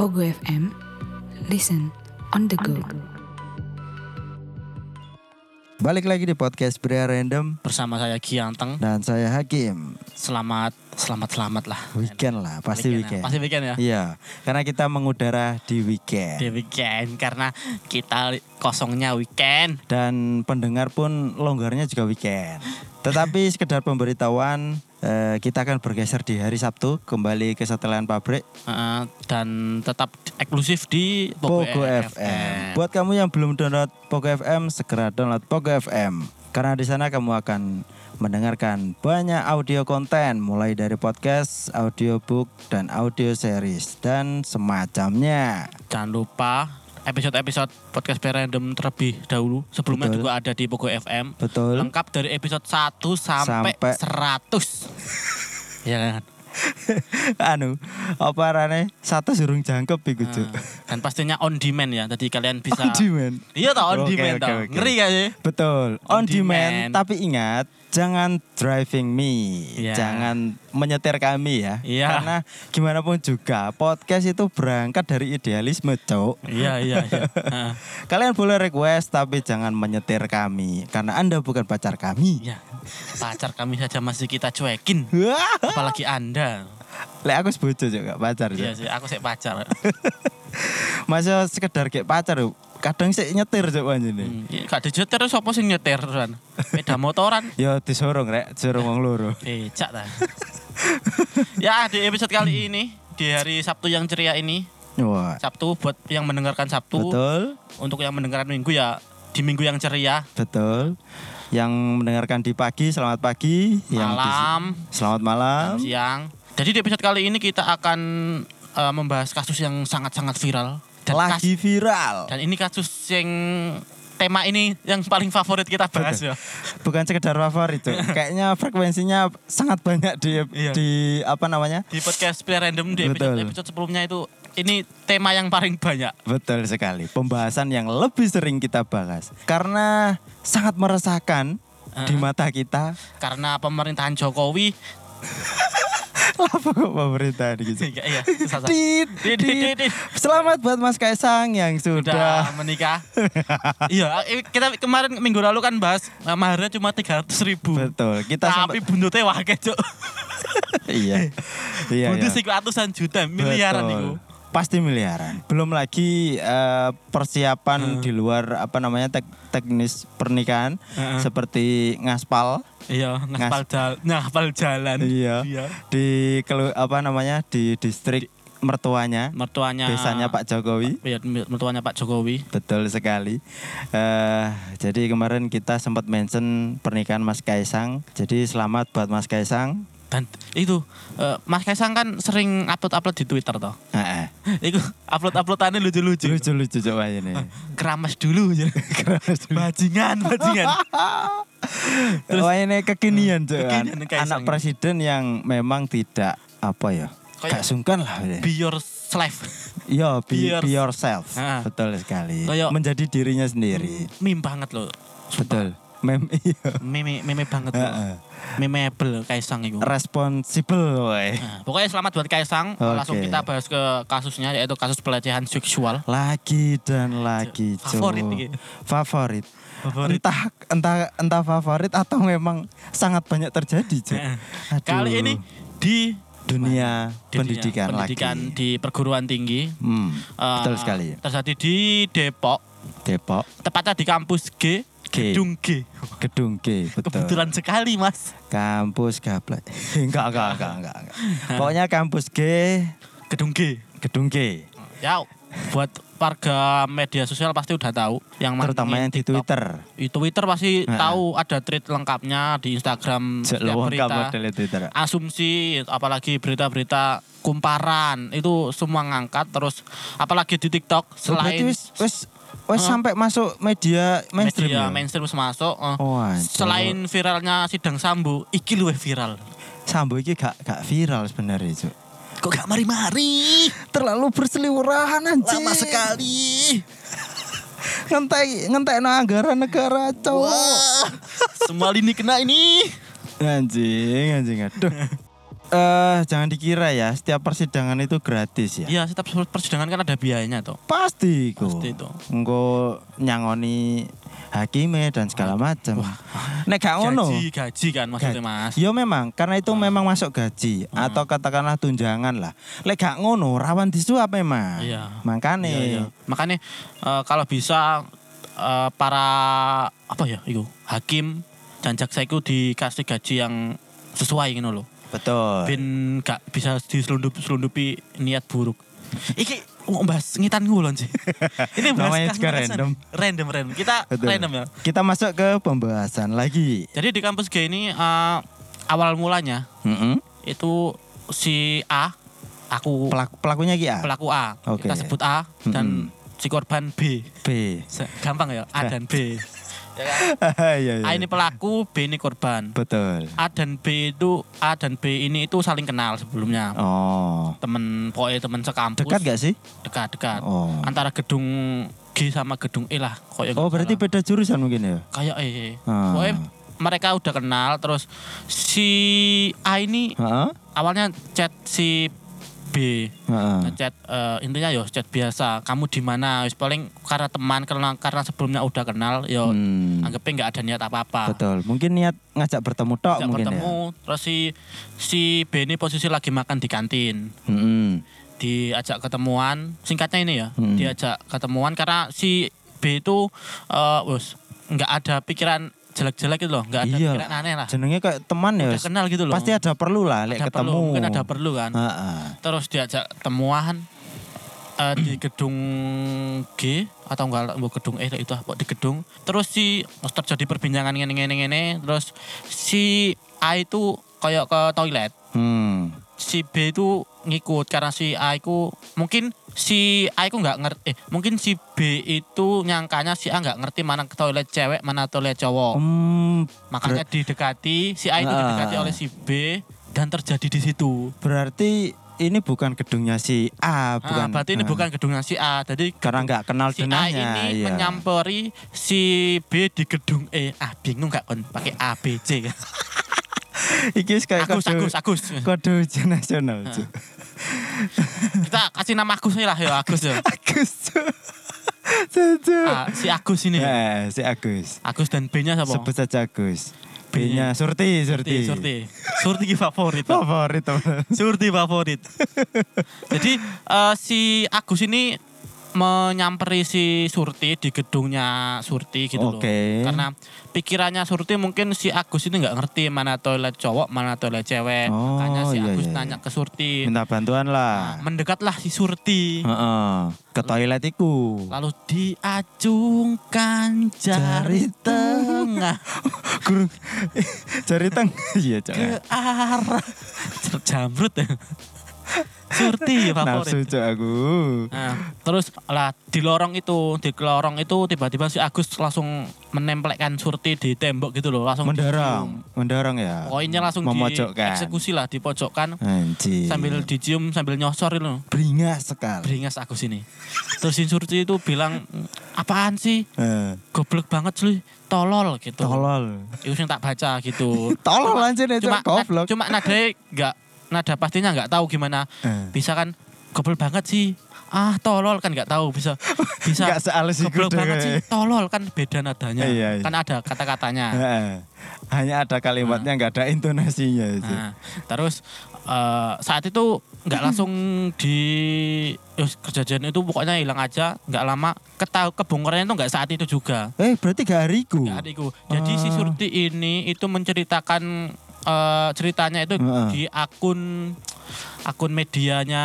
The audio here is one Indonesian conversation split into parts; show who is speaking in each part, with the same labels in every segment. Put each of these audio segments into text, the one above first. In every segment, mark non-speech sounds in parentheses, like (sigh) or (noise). Speaker 1: Ogo FM. Listen on the go.
Speaker 2: Balik lagi di podcast Bria Random
Speaker 3: bersama saya Gianteng.
Speaker 2: dan saya Hakim.
Speaker 3: Selamat, selamat, selamat lah.
Speaker 2: Weekend lah, pasti
Speaker 3: ya.
Speaker 2: weekend.
Speaker 3: Pasti weekend ya.
Speaker 2: Iya, karena kita mengudara di
Speaker 3: Di
Speaker 2: weekend.
Speaker 3: weekend karena kita li- kosongnya weekend.
Speaker 2: Dan pendengar pun longgarnya juga weekend. Tetapi sekedar pemberitahuan, eh, kita akan bergeser di hari Sabtu kembali ke setelan pabrik
Speaker 3: Heeh, eh, dan tetap eksklusif di
Speaker 2: Pogo, FM. Buat kamu yang belum download Pogo FM, segera download Pogo FM. Karena di sana kamu akan mendengarkan banyak audio konten mulai dari podcast, audiobook, dan audio series dan semacamnya. (laughs)
Speaker 3: Jangan lupa episode-episode podcast Random terlebih dahulu. Sebelumnya
Speaker 2: Betul.
Speaker 3: juga ada di Pogo FM.
Speaker 2: Betul.
Speaker 3: Lengkap dari episode 1 sampai,
Speaker 2: Sampai.
Speaker 3: 100. Iya kan?
Speaker 2: anu, apa arane? Satu surung jangkep iku, Cuk.
Speaker 3: Heeh. dan pastinya on demand ya. Jadi kalian
Speaker 2: On
Speaker 3: bisa
Speaker 2: demand.
Speaker 3: Iya toh on
Speaker 2: Oke,
Speaker 3: demand
Speaker 2: oke,
Speaker 3: toh.
Speaker 2: oke.
Speaker 3: Ngeri gak sih?
Speaker 2: Betul, on,
Speaker 3: On
Speaker 2: demand.
Speaker 3: demand.
Speaker 2: Tapi ingat, jangan driving me,
Speaker 3: Iya.
Speaker 2: jangan menyetir kami ya.
Speaker 3: Iya.
Speaker 2: Karena gimana pun juga podcast itu berangkat dari idealisme, cok.
Speaker 3: Iya iya
Speaker 2: (laughs)
Speaker 3: iya. Heeh.
Speaker 2: Kalian boleh request tapi jangan menyetir kami karena Anda bukan pacar kami.
Speaker 3: Ya, pacar kami saja masih kita cuekin,
Speaker 2: Wah,
Speaker 3: apalagi Anda.
Speaker 2: (laughs) Lek aku sebojo juga pacar.
Speaker 3: Iya
Speaker 2: Cuk.
Speaker 3: sih, aku sih pacar. Hmm,
Speaker 2: Masa sekedar kayak pacar, Cuk. kadang sih nyetir cok anjene.
Speaker 3: Hmm, iya, Gak dijeter terus apa sih nyetir kan? Beda motoran.
Speaker 2: Ya disorong rek, disorong wong loro.
Speaker 3: Becak ta. ya, di episode kali ini di hari Sabtu yang ceria ini,
Speaker 2: Wah.
Speaker 3: Sabtu buat yang mendengarkan Sabtu,
Speaker 2: Betul,
Speaker 3: untuk yang mendengarkan Minggu ya di Minggu yang ceria,
Speaker 2: betul. Yang mendengarkan di pagi, selamat pagi. Yang di-
Speaker 3: malam,
Speaker 2: Selamat malam.
Speaker 3: siang. Jadi di episode kali ini kita akan eh, membahas kasus yang sangat-sangat viral dan kas-
Speaker 2: Lagi viral.
Speaker 3: Dan ini kasus yang tema ini yang paling favorit kita bahas ya.
Speaker 2: Bukan sekedar favorit
Speaker 3: (laughs)
Speaker 2: itu. Kayaknya frekuensinya sangat banyak di
Speaker 3: Iya.
Speaker 2: di apa namanya?
Speaker 3: Di podcast Play Random di episode,
Speaker 2: Betul.
Speaker 3: episode sebelumnya itu ini tema yang paling banyak.
Speaker 2: Betul sekali. Pembahasan yang lebih sering kita bahas karena sangat meresahkan di mata kita. (laughs)
Speaker 3: Karena pemerintahan Jokowi (laughs)
Speaker 2: Apa kok pemerintahan gitu?
Speaker 3: (laughs) iya iya susah, susah.
Speaker 2: Tit,
Speaker 3: Dit, dit,
Speaker 2: tit.
Speaker 3: dit, dit.
Speaker 2: Selamat buat Mas Kaisang yang
Speaker 3: sudah
Speaker 2: sudah
Speaker 3: menikah. iya, eh, kita kemarin minggu lalu kan bahas eh, maharnya cuma 300 ribu.
Speaker 2: betul. Kita
Speaker 3: Tapi
Speaker 2: sempat-
Speaker 3: buntutnya wakil, Cuk. (laughs)
Speaker 2: iya. (laughs) iya. iya.
Speaker 3: Buntut sih ratusan juta, miliaran
Speaker 2: Betul.
Speaker 3: itu.
Speaker 2: Pasti miliaran. Belum lagi eh, persiapan di luar apa namanya tek- teknis pernikahan
Speaker 3: Heeh.
Speaker 2: seperti ngaspal
Speaker 3: Iya, ngaspal jalan, ngaspal jalan.
Speaker 2: Iya. di kelu- apa namanya di distrik mertuanya,
Speaker 3: Mertuanya
Speaker 2: desanya Pak Jokowi.
Speaker 3: Iya, mertuanya Pak Jokowi.
Speaker 2: Betul sekali. eh jadi kemarin kita sempat mention pernikahan Mas Kaisang. Jadi selamat buat Mas Kaisang.
Speaker 3: dan itu eh, Mas Kaisang kan sering upload-upload di Twitter toh. (laughs)
Speaker 2: Heeh.
Speaker 3: Itu upload-uplodannya lucu-lucu.
Speaker 2: Lucu-lucu coba ini. (laughs)
Speaker 3: Keramas dulu. ya. bajingan, bajingan. (laughs)
Speaker 2: Wah ini kekinian Cuk.
Speaker 3: Hmm, Kekinian Kaisang.
Speaker 2: Anak presiden yang memang tidak apa ya.
Speaker 3: Kayak-
Speaker 2: Gak sungkan lah. ya.
Speaker 3: Be your slave. (laughs)
Speaker 2: Yo,
Speaker 3: be
Speaker 2: be,
Speaker 3: your-
Speaker 2: be yourself.
Speaker 3: Ah.
Speaker 2: Betul sekali.
Speaker 3: Kayak- Hmm,
Speaker 2: Menjadi dirinya sendiri.
Speaker 3: Meme banget loh.
Speaker 2: Betul. Mem (laughs) iya.
Speaker 3: Meme meme banget loh.
Speaker 2: Heeh.
Speaker 3: Memeable Kaisang itu.
Speaker 2: Responsible woy.
Speaker 3: Nah, pokoknya selamat buat Kaisang.
Speaker 2: Oke.
Speaker 3: Langsung kita bahas ke kasusnya yaitu kasus pelecehan seksual.
Speaker 2: Lagi dan lagi Cuk.
Speaker 3: Favorit iki.
Speaker 2: Favorit.
Speaker 3: Favorit.
Speaker 2: Entah entah entah favorit atau memang sangat banyak terjadi, Cuk. Aduh.
Speaker 3: Kali ini di
Speaker 2: dunia,
Speaker 3: di dunia
Speaker 2: pendidikan,
Speaker 3: pendidikan
Speaker 2: lagi.
Speaker 3: di perguruan tinggi.
Speaker 2: Hmm,
Speaker 3: Eh,
Speaker 2: betul sekali.
Speaker 3: Terjadi di Depok,
Speaker 2: Depok,
Speaker 3: tepatnya di kampus G,
Speaker 2: G.
Speaker 3: gedung G.
Speaker 2: Gedung G, betul.
Speaker 3: Kebetulan sekali mas
Speaker 2: Kampus gablek. (laughs) enggak, enggak, enggak, enggak,
Speaker 3: (laughs)
Speaker 2: enggak. Pokoknya kampus G,
Speaker 3: Gedung G
Speaker 2: gedung G.
Speaker 3: Ya buat warga media sosial pasti udah tahu Yang main
Speaker 2: Terutama yang di
Speaker 3: ya, TikTok. Hmm,
Speaker 2: Twitter.
Speaker 3: Di Twitter pasti
Speaker 2: Heeh.
Speaker 3: tahu ada tweet lengkapnya Di Instagram
Speaker 2: Jek
Speaker 3: setiap
Speaker 2: lowong
Speaker 3: berita Ah,
Speaker 2: model Twitter.
Speaker 3: Asumsi apalagi berita-berita kumparan Itu semua ngangkat Terus apalagi di TikTok
Speaker 2: Oh, Berarti
Speaker 3: Selain Oh.
Speaker 2: wis wis wis sampai masuk media mainstream. ya?
Speaker 3: media mainstream wis masuk eh,
Speaker 2: Oh, anjir.
Speaker 3: Selain viralnya sidang sambu Iki luwih viral
Speaker 2: Sambo iki gak gak viral sebenarnya, Cuk.
Speaker 3: Kok gak mari-mari
Speaker 2: Terlalu berseliweran anjing.
Speaker 3: Lama sekali
Speaker 2: Ngentai ngentai anggaran negara, Cuk.
Speaker 3: Wah, semua lini kena ini.
Speaker 2: Anjing, anjing aduh. (laughs) eh jangan dikira ya, setiap persidangan itu gratis ya.
Speaker 3: Iya, setiap persidangan kan ada biayanya toh.
Speaker 2: Pasti kok.
Speaker 3: Pasti itu.
Speaker 2: Engko nyangoni hakime dan segala macam. Nek gak ngono.
Speaker 3: Gaji, gaji kan maksudnya Mas.
Speaker 2: Yo memang karena itu memang masuk gaji
Speaker 3: Hmm.
Speaker 2: atau katakanlah tunjangan lah. Lek gak ngono rawan disuap memang.
Speaker 3: Iya.
Speaker 2: Makane
Speaker 3: Iya, iya. Makanya eh, kalau bisa eh, para apa ya itu hakim dan jaksa itu dikasih gaji yang sesuai gitu loh.
Speaker 2: betul.
Speaker 3: Ben gak bisa diselundup selundupi niat buruk. Iki mau bahas ngitan ngulon
Speaker 2: (laughs)
Speaker 3: sih. Ini bahas
Speaker 2: Namanya
Speaker 3: kas-
Speaker 2: juga
Speaker 3: kas-
Speaker 2: random.
Speaker 3: Random random. Kita
Speaker 2: Betul.
Speaker 3: random ya.
Speaker 2: Kita masuk ke pembahasan lagi.
Speaker 3: Jadi di kampus G ini eh, awal mulanya
Speaker 2: Mm-mm.
Speaker 3: itu si A aku
Speaker 2: Pelaku, pelakunya Ki A.
Speaker 3: pelaku A.
Speaker 2: Oke.
Speaker 3: Kita sebut A dan si korban B.
Speaker 2: B. (laughs)
Speaker 3: Se- Gampang ya, A dan B. Ya kan?
Speaker 2: Iya, iya.
Speaker 3: A ini pelaku, B ini korban.
Speaker 2: Betul.
Speaker 3: A dan B itu A dan B ini itu saling kenal sebelumnya.
Speaker 2: Oh.
Speaker 3: Temen poe temen sekampus.
Speaker 2: Dekat gak sih?
Speaker 3: Dekat, dekat.
Speaker 2: Oh.
Speaker 3: Antara gedung G sama gedung E lah. Kayak
Speaker 2: Oh berarti beda jurusan mungkin ya?
Speaker 3: kayak E.
Speaker 2: Ah.
Speaker 3: Pokoknya mereka udah kenal terus si A ini
Speaker 2: Heeh.
Speaker 3: awalnya chat si B.
Speaker 2: Heeh.
Speaker 3: ngechat eh, intinya yo chat biasa kamu di mana wis paling karena teman karena karena sebelumnya udah kenal yo
Speaker 2: Hmm,
Speaker 3: anggapnya nggak ada niat apa apa
Speaker 2: Betul. Mungkin niat ngajak bertemu tok
Speaker 3: Ajak
Speaker 2: mungkin
Speaker 3: Ah.
Speaker 2: ya.
Speaker 3: bertemu terus si si B ini posisi lagi makan di kantin
Speaker 2: ya. Mm-mm.
Speaker 3: diajak ketemuan singkatnya ini ya
Speaker 2: Hmm.
Speaker 3: diajak ketemuan karena si B itu eh, wes nggak ada pikiran jelek-jelek gitu loh nggak ada
Speaker 2: Iya.
Speaker 3: pikiran aneh lah
Speaker 2: Jenenge kayak teman ya.
Speaker 3: udah kenal gitu loh
Speaker 2: Pasti ada perlu lah lek
Speaker 3: Ada
Speaker 2: ketemu.
Speaker 3: perlu, mungkin ada perlu kan
Speaker 2: Heeh.
Speaker 3: terus diajak temuan eh, di gedung G atau enggak bu gedung E itu apa di gedung terus si terus terjadi perbincangan ngene ngene ngene terus si A itu kayak ke toilet
Speaker 2: Hmm.
Speaker 3: si B itu ngikut karena si A itu mungkin si A itu nggak ngerti eh, mungkin si B itu nyangkanya si A nggak ngerti mana ke toilet cewek mana toilet cowok
Speaker 2: Hmm,
Speaker 3: Oh. makanya didekati si A itu
Speaker 2: Ah.
Speaker 3: didekati oleh si B dan terjadi di situ
Speaker 2: berarti ini bukan gedungnya si A, bukan.
Speaker 3: Ah, berarti ini
Speaker 2: Ah.
Speaker 3: bukan gedungnya si A. Jadi
Speaker 2: karena nggak kenal
Speaker 3: si A
Speaker 2: denahnya.
Speaker 3: ini
Speaker 2: iya.
Speaker 3: menyamperi si B di gedung E. Ah, bingung nggak kon pakai A B C.
Speaker 2: Eh, Iki wis kayak
Speaker 3: Agus,
Speaker 2: kode-
Speaker 3: Agus, Agus. Ah.
Speaker 2: kode ujian nasional. Cuk.
Speaker 3: Kita kasih nama Agus aja lah ya, Agus
Speaker 2: (laughs)
Speaker 3: ya.
Speaker 2: Agus. Cuk. Cuk, Cuk.
Speaker 3: Ah, si Agus ini.
Speaker 2: Ya, si Agus.
Speaker 3: Agus dan B-nya siapa?
Speaker 2: Sebut saja Agus. B-nya Surti,
Speaker 3: Surti,
Speaker 2: Surti.
Speaker 3: Surti. Surti ki favorit.
Speaker 2: Favorit teman.
Speaker 3: Surti favorit. (laughs) Jadi eh, si Agus ini menyamperi si Surti di gedungnya Surti gitu loh.
Speaker 2: Oke.
Speaker 3: Karena pikirannya Surti mungkin si Agus ini nggak ngerti mana toilet cowok, mana toilet cewek.
Speaker 2: Oh,
Speaker 3: Makanya si
Speaker 2: iya,
Speaker 3: Agus
Speaker 2: iya,
Speaker 3: nanya
Speaker 2: iya.
Speaker 3: ke Surti.
Speaker 2: Minta bantuan
Speaker 3: Nah,
Speaker 2: lah.
Speaker 3: mendekatlah si Surti.
Speaker 2: Heeh. Ke toilet iku.
Speaker 3: Lalu diacungkan jari,
Speaker 2: Jari
Speaker 3: tengah
Speaker 2: Guru (laughs) jari teng. Iya, Cok.
Speaker 3: ke
Speaker 2: (laughs)
Speaker 3: arah jamrut ya. Surti favorit.
Speaker 2: Nafsu Cok aku.
Speaker 3: Nah, terus lah di lorong itu, di lorong itu tiba-tiba si Agus langsung menempelkan Surti di tembok gitu loh, langsung
Speaker 2: Mendorong, mendorong ya.
Speaker 3: dicium. Pokoknya langsung
Speaker 2: memojokkan. Iya.
Speaker 3: dieksekusi lah, dipojokkan
Speaker 2: Anjir.
Speaker 3: sambil dicium sambil nyosor itu. loh.
Speaker 2: beringas sekali.
Speaker 3: Beringas Agus ini. Terus si Surti itu bilang, "Apaan sih?
Speaker 2: Eh,
Speaker 3: Goblok banget sih, tolol gitu."
Speaker 2: tolol.
Speaker 3: Itu yang tak baca gitu.
Speaker 2: Tolol anjir (laughs) itu kan
Speaker 3: cuma
Speaker 2: goblok.
Speaker 3: cuma nadanya nggak nada pastinya nggak tahu gimana.
Speaker 2: Eh.
Speaker 3: Bisa kan goblok banget sih. Ah, tolol kan nggak tahu
Speaker 2: (laughs)
Speaker 3: bisa bisa
Speaker 2: Nggak sehalus iku
Speaker 3: goblok
Speaker 2: deh.
Speaker 3: banget sih. Tolol kan beda nadanya.
Speaker 2: Iya, iya.
Speaker 3: Kan ada
Speaker 2: (laughs)
Speaker 3: kata-katanya.
Speaker 2: Heeh. Hanya ada
Speaker 3: Ah.
Speaker 2: kalimatnya nggak ada intonasinya itu.
Speaker 3: Nah, terus eh, saat itu
Speaker 2: Hmm.
Speaker 3: nggak langsung di yus, kejadian itu pokoknya hilang aja nggak lama ketahu kebongkarannya itu nggak saat itu juga
Speaker 2: Eh, berarti gak hariku.
Speaker 3: nggak ada itu jadi si
Speaker 2: Ah.
Speaker 3: Surti ini itu menceritakan eh, ceritanya itu
Speaker 2: Heeh.
Speaker 3: di akun akun medianya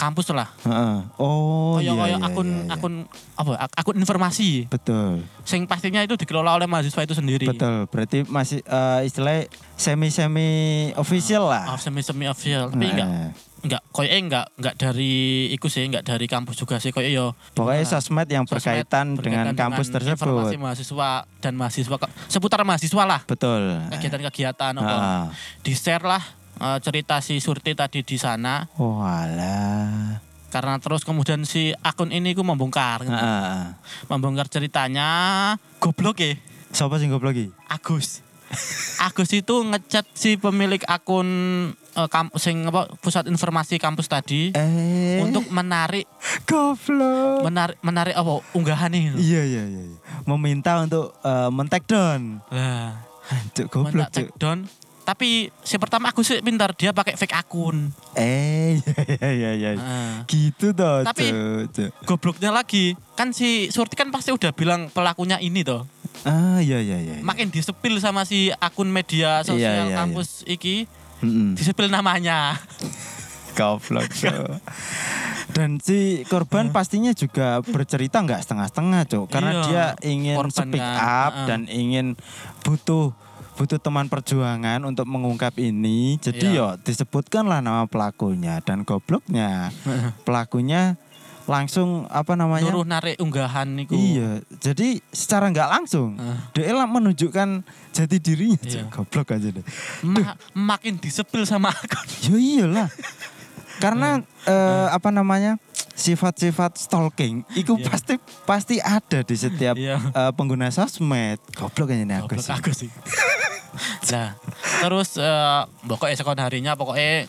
Speaker 3: kampus lah
Speaker 2: Heeh. Oh, iya,
Speaker 3: Kayak- kayak
Speaker 2: iya,
Speaker 3: akun
Speaker 2: iya, iya.
Speaker 3: akun apa ak- akun informasi
Speaker 2: Betul.
Speaker 3: sing pastinya itu dikelola oleh mahasiswa itu sendiri
Speaker 2: Betul. Berarti masih eh, istilahnya semi-semi official lah. Eh,
Speaker 3: Off semi semi official tapi enggak
Speaker 2: Heeh.
Speaker 3: enggak koyo enggak enggak dari iku sih enggak dari kampus juga sih koyo yo
Speaker 2: Pokoknya sosmed yang
Speaker 3: sosmed
Speaker 2: berkaitan, dengan kampus tersebut.
Speaker 3: informasi mahasiswa dan mahasiswa ke- seputar mahasiswa lah
Speaker 2: Betul.
Speaker 3: Eh,
Speaker 2: Eh,
Speaker 3: kegiatan-kegiatan apa
Speaker 2: Heeh.
Speaker 3: di share lah eh, cerita si Surti tadi di sana
Speaker 2: Oh, Walah.
Speaker 3: karena terus kemudian si akun ini ku membongkar
Speaker 2: Eh, Nah. Heeh.
Speaker 3: membongkar ceritanya goblok ya
Speaker 2: (laughs) Siapa sih goblok iki?
Speaker 3: Agus Agus itu ngechat si pemilik akun eh, kamp- sing apa pusat informasi kampus tadi
Speaker 2: Eh,
Speaker 3: untuk menarik
Speaker 2: goblok.
Speaker 3: menarik menarik apa unggahan nih.
Speaker 2: Iya iya iya. iya. Meminta untuk eh, men-take down.
Speaker 3: Lah,
Speaker 2: Cuk
Speaker 3: mana
Speaker 2: goblok cuk.
Speaker 3: take down. Tapi si pertama aku sih pintar dia pakai fake akun.
Speaker 2: Eh (laughs) iya iya iya. iya.
Speaker 3: Heeh.
Speaker 2: Gitu toh
Speaker 3: Ah. Tapi-
Speaker 2: cuk, cuk.
Speaker 3: Gobloknya lagi kan si Surti kan pasti udah bilang pelakunya ini toh.
Speaker 2: Ah iya iya iya. iya.
Speaker 3: Makin disepil sama si akun media sosial
Speaker 2: Iya, Hmm. iya,
Speaker 3: kampus iki
Speaker 2: Mm-mm.
Speaker 3: disepil namanya.
Speaker 2: Goblok. Cuk. (laughs) Dan si korban pastinya juga bercerita nggak setengah-setengah, Cuk. Karena
Speaker 3: Hmm. Iya,
Speaker 2: dia ingin
Speaker 3: korban
Speaker 2: speak
Speaker 3: kan,
Speaker 2: up
Speaker 3: heeh.
Speaker 2: dan ingin butuh butuh teman perjuangan untuk mengungkap ini. Jadi yo
Speaker 3: Iya.
Speaker 2: disebutkanlah nama pelakunya dan gobloknya.
Speaker 3: (laughs)
Speaker 2: Pelakunya langsung apa namanya?
Speaker 3: Nyuruh narik unggahan niku.
Speaker 2: Iya, jadi secara nggak langsung
Speaker 3: Heeh.
Speaker 2: dia lah menunjukkan jati dirinya, Cuk.
Speaker 3: Iya.
Speaker 2: goblok aja deh.
Speaker 3: Ma- makin disepil sama akun.
Speaker 2: Ya iyalah. Karena
Speaker 3: Hmm.
Speaker 2: eh, apa namanya? sifat-sifat stalking itu
Speaker 3: Iya.
Speaker 2: pasti pasti ada di setiap
Speaker 3: Iya.
Speaker 2: eh, pengguna sosmed. Goblok aja nih Iya, aku
Speaker 3: Goblok Ah,
Speaker 2: sih.
Speaker 3: aku
Speaker 2: (laughs)
Speaker 3: sih. nah, terus eh, pokoknya sekon harinya pokoknya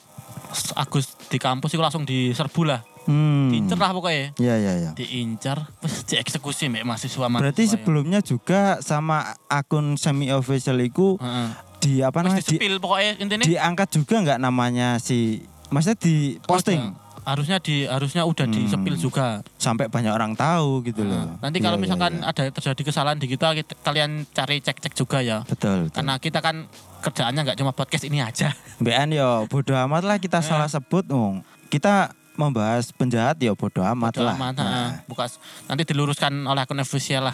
Speaker 3: Agus di kampus itu langsung diserbu lah.
Speaker 2: Hmm.
Speaker 3: Diincer lah pokoknya.
Speaker 2: Iya iya iya.
Speaker 3: Diincer, terus dieksekusi mek mahasiswa mahasiswa.
Speaker 2: Berarti
Speaker 3: yang-
Speaker 2: sebelumnya juga sama akun semi official itu
Speaker 3: Heeh.
Speaker 2: di apa
Speaker 3: Terus
Speaker 2: namanya? Di,
Speaker 3: disepil pokoknya intinya
Speaker 2: diangkat juga nggak namanya si maksudnya di posting Hmm.
Speaker 3: harusnya di harusnya udah disepil juga.
Speaker 2: sampai banyak orang tahu gitu loh.
Speaker 3: Ah, Nanti kalau
Speaker 2: Iya, iya,
Speaker 3: misalkan
Speaker 2: iya.
Speaker 3: ada terjadi kesalahan di kita, kita- kalian cari cek-cek juga ya.
Speaker 2: betul. betul.
Speaker 3: Karena kita kan kerjaannya nggak cuma podcast ini aja.
Speaker 2: Mbekan yo bodoh amat lah kita
Speaker 3: Eh.
Speaker 2: salah sebut wong. Kita membahas penjahat yo bodoh amat lah.
Speaker 3: Aman,
Speaker 2: Nah,
Speaker 3: heeh. Buka- nanti diluruskan oleh akun official
Speaker 2: (laughs)
Speaker 3: lah.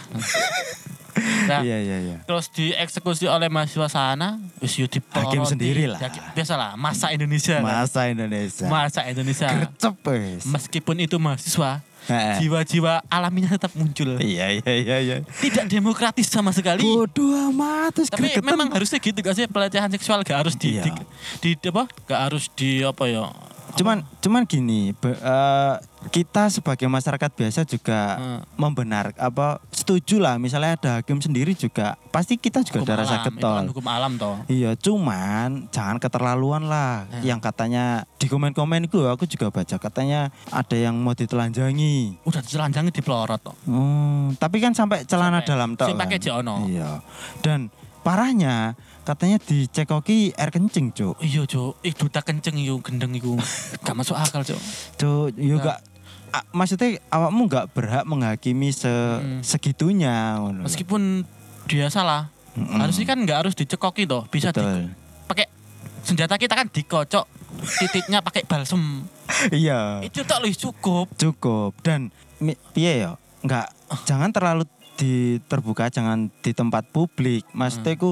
Speaker 3: Nah,
Speaker 2: Iya iya iya.
Speaker 3: Terus dieksekusi oleh mahasiswa sana, wis yo diploroti.
Speaker 2: Hakim sendiri lah.
Speaker 3: Hakim- Biasalah, masa Indonesia. kan?
Speaker 2: Masa Indonesia.
Speaker 3: Masa Indonesia.
Speaker 2: Gercep wis.
Speaker 3: Meskipun itu mahasiswa,
Speaker 2: Heeh.
Speaker 3: jiwa-jiwa alaminya tetap muncul.
Speaker 2: Iya iya iya iya.
Speaker 3: Tidak demokratis sama sekali.
Speaker 2: Bodoh amat terus
Speaker 3: Tapi
Speaker 2: gregetan.
Speaker 3: memang harusnya gitu gak sih pelecehan seksual gak harus di,
Speaker 2: Iya.
Speaker 3: di, di- apa? Gak harus di apa ya?
Speaker 2: cuman cuman gini be- eh, kita sebagai masyarakat biasa juga
Speaker 3: Hmm.
Speaker 2: membenar apa setuju lah misalnya ada hakim sendiri juga pasti kita juga
Speaker 3: Hukum
Speaker 2: ada rasa
Speaker 3: alam, itu
Speaker 2: getol.
Speaker 3: kan hukum alam toh.
Speaker 2: Iya, cuman jangan keterlaluan lah.
Speaker 3: Hmm.
Speaker 2: Yang katanya di komen-komen gue, aku juga baca katanya ada yang mau ditelanjangi.
Speaker 3: Udah dicelanjangi diplorot toh.
Speaker 2: Hmm, tapi kan sampai celana
Speaker 3: Sampai-
Speaker 2: dalam tok.
Speaker 3: sing pakai
Speaker 2: kan.
Speaker 3: jek ono.
Speaker 2: Iya. Dan parahnya katanya dicekoki air kencing, Cuk.
Speaker 3: Iya, Cuk. Ih, duta kenceng yo gendeng
Speaker 2: (laughs)
Speaker 3: iku. gak masuk akal, Cuk.
Speaker 2: Iya. Cuk, yo
Speaker 3: Nah.
Speaker 2: gak a- maksudnya awakmu nggak berhak menghakimi se
Speaker 3: Hmm.
Speaker 2: segitunya ngono.
Speaker 3: Meskipun dia salah,
Speaker 2: Mm-mm.
Speaker 3: harusnya kan nggak harus dicekoki toh. Bisa di-
Speaker 2: Betul.
Speaker 3: pakai senjata kita kan dikocok titiknya pakai balsem.
Speaker 2: iya.
Speaker 3: Itu tak lebih cukup.
Speaker 2: cukup dan mi- piye yo nggak jangan terlalu di terbuka jangan di tempat publik maksudnya
Speaker 3: Hmm.
Speaker 2: ku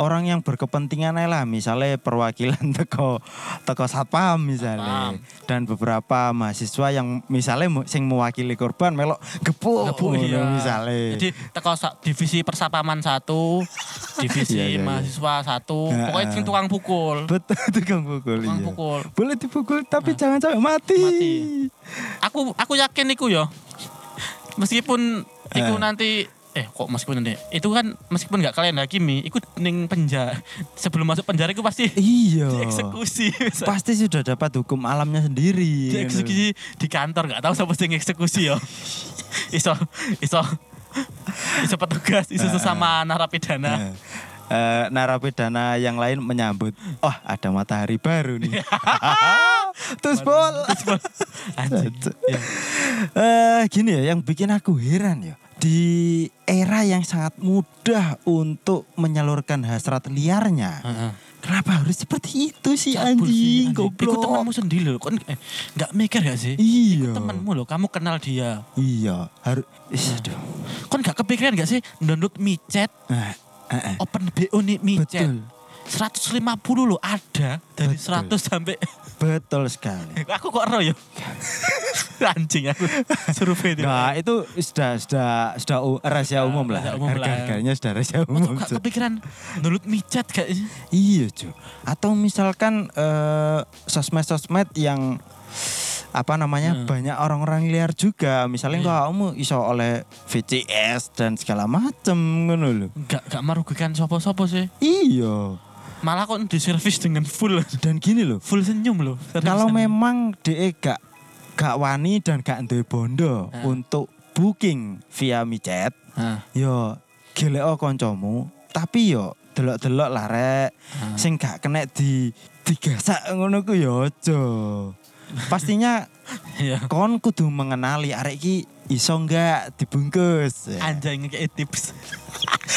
Speaker 2: orang yang berkepentingan ae lah misalnya perwakilan (laughs) teko teko satpam misalnya
Speaker 3: Satpam.
Speaker 2: dan beberapa mahasiswa yang misalnya mu- sing mewakili korban melok gepuk
Speaker 3: Ngebuk,
Speaker 2: Oh, ngono
Speaker 3: iya.
Speaker 2: misalnya
Speaker 3: Jadi teko sa- divisi persapaman satu,
Speaker 2: (laughs)
Speaker 3: divisi
Speaker 2: Iya, iya, iya.
Speaker 3: mahaswa satu,
Speaker 2: Nah,
Speaker 3: pokoknya sing tukang pukul.
Speaker 2: betul (laughs) tukang pukul
Speaker 3: Tukang
Speaker 2: iya.
Speaker 3: pukul. Nah.
Speaker 2: boleh dipukul tapi jangan sampai mati,
Speaker 3: Mati. Aku aku yakin iku ya. Meskipun iku
Speaker 2: Eh.
Speaker 3: nanti eh kok meskipun nanti itu kan meskipun nggak kalian hakimi, iku ning penjara sebelum masuk penjara iku pasti
Speaker 2: iya
Speaker 3: dieksekusi.
Speaker 2: pasti iya. sudah dapat hukum alamnya sendiri
Speaker 3: dieksekusi di kantor nggak tahu siapa sih yang eksekusi ya iso iso iso petugas iso sesama narapidana
Speaker 2: Nah, eh, narapidana yang lain menyambut, oh ada matahari baru
Speaker 3: (laughs)
Speaker 2: nih. Terus bol. (laughs)
Speaker 3: anjing Iya.
Speaker 2: Eh, gini ya, yang bikin aku heran ya. Di era yang sangat mudah untuk menyalurkan hasrat liarnya.
Speaker 3: Heeh.
Speaker 2: Kenapa harus seperti itu sih
Speaker 3: Cabul sih,
Speaker 2: anjing?
Speaker 3: Iku
Speaker 2: Goblok.
Speaker 3: temanmu sendiri loh. Kon eh, nggak mikir gak sih?
Speaker 2: Iya.
Speaker 3: Temanmu loh, kamu kenal dia.
Speaker 2: Iya, harus Ih, aduh.
Speaker 3: Kon nggak kepikiran gak sih download micet,
Speaker 2: Eh, eh, eh.
Speaker 3: open BO nih micet.
Speaker 2: Betul.
Speaker 3: 150 loh ada dari
Speaker 2: Betul.
Speaker 3: 100 sampai (laughs)
Speaker 2: Betul sekali.
Speaker 3: aku kok ero ya. (laughs) Anjing aku survei itu.
Speaker 2: Nah, itu sudah sudah sudah u- rahasia umum lah.
Speaker 3: rahasia umum lah.
Speaker 2: Harga-harganya sudah rahasia
Speaker 3: Kok
Speaker 2: umum.
Speaker 3: gak
Speaker 2: Cuk.
Speaker 3: kepikiran download micet gak sih?
Speaker 2: Iya Jo. Atau misalkan eh, sosmed-sosmed yang apa namanya banyak orang-orang liar juga. Misalnya
Speaker 3: Hmm. Iya.
Speaker 2: kamu iso oleh VCS dan segala macem ngono lho.
Speaker 3: Gak, gak merugikan sopo-sopo sih.
Speaker 2: Iya.
Speaker 3: malah kok di service dengan full
Speaker 2: Dan gini loh,
Speaker 3: full senyum loh service.
Speaker 2: kalau memang DE gak gak wani dan gak duwe bondo
Speaker 3: Ah.
Speaker 2: untuk booking via micet,
Speaker 3: Hah,
Speaker 2: yo geleo koncomu, tapi yo delok-delok lah rek
Speaker 3: hah.
Speaker 2: sing gak kena di digasak ngono ku yo aja. Pastinya
Speaker 3: Iya.
Speaker 2: kon kudu mengenali arek iki iso nggak dibungkus. Ya.
Speaker 3: anjay ngekei
Speaker 2: (laughs)
Speaker 3: tips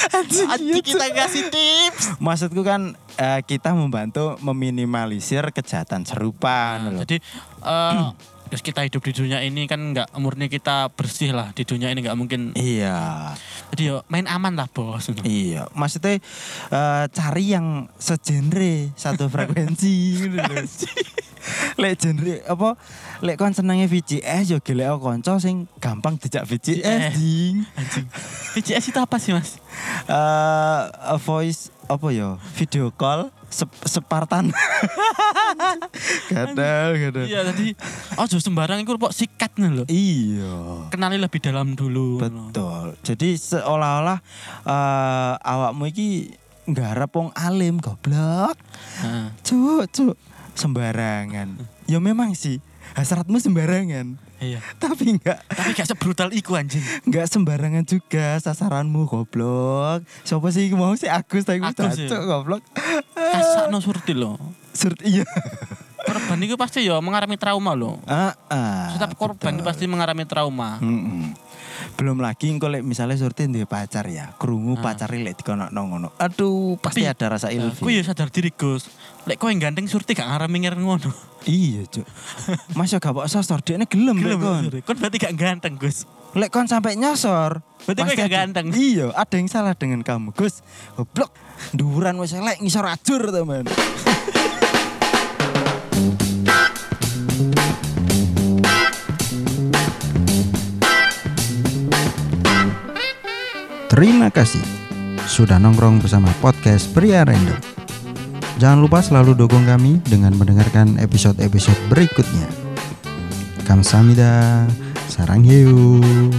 Speaker 2: Anjing,
Speaker 3: Anjing,
Speaker 2: iya,
Speaker 3: kita kasih tips
Speaker 2: Maksudku kan eh, kita membantu meminimalisir kejahatan serupa.
Speaker 3: Nah,
Speaker 2: ngono lho.
Speaker 3: jadi eh, terus kita hidup di dunia ini kan nggak murni kita bersih lah di dunia ini nggak mungkin
Speaker 2: Iya,
Speaker 3: jadi yo main aman lah bos
Speaker 2: iya. Maksudnya eh, cari yang segenre, satu frekuensi. ngono lho. Lek genre apa? Lek kon senenge VCS yo gelek kanca sing gampang dijak VCS ding.
Speaker 3: anjing VCS itu apa sih mas
Speaker 2: Eh, a voice apa ya? Video call sep- Spartan. (laughs) Gatel, gatel.
Speaker 3: iya tadi oh jauh sembarang itu kok sikatnya loh
Speaker 2: Iya.
Speaker 3: kenali lebih dalam dulu
Speaker 2: Betul. Jadi seolah-olah eh, awakmu iki nggarap wong alim goblok.
Speaker 3: Nah,
Speaker 2: Cuk, cuk. Sembarangan. Ya memang sih hasratmu sembarangan.
Speaker 3: iya
Speaker 2: Tapi enggak
Speaker 3: tapi gak sebrutal iku anjing
Speaker 2: enggak sembarangan juga sasaranmu goblok. Siapa sih mau sih Agus tapi aku
Speaker 3: Agus ya?
Speaker 2: cacuk, goblok.
Speaker 3: kasar no surti loh
Speaker 2: Surt iya.
Speaker 3: korban itu pasti yo mengalami trauma loh
Speaker 2: Ah, ah,
Speaker 3: setiap korban
Speaker 2: betul.
Speaker 3: itu pasti mengalami trauma
Speaker 2: Mm-mm. Belum lagi engko lek misalnya surti duwe pacar ya, krungu pacare lek dikonokno ngono. Aduh, pasti
Speaker 3: Ah.
Speaker 2: ada
Speaker 3: Tapi,
Speaker 2: rasa
Speaker 3: Nah,
Speaker 2: ilfil.
Speaker 3: aku ya sadar diri Gus lek kowe ganteng surti gak ngarami ngeren ngono
Speaker 2: Iya, Cuk. Mas yo gak kok sosor, dekne gelem lek
Speaker 3: Gila
Speaker 2: kon.
Speaker 3: bener. Kon berarti gak ganteng Gus
Speaker 2: Lek kon sampai nyosor.
Speaker 3: Berarti kowe
Speaker 2: pasti
Speaker 3: gak
Speaker 2: ada-
Speaker 3: ganteng.
Speaker 2: Iya, ada yang salah dengan kamu, Gus. Goblok. Duran wis elek ngisor ajur, teman. Terima kasih sudah nongkrong bersama podcast Pria Random. Jangan lupa selalu dukung kami dengan mendengarkan episode-episode berikutnya. Kamsahamnida, sarang hiu.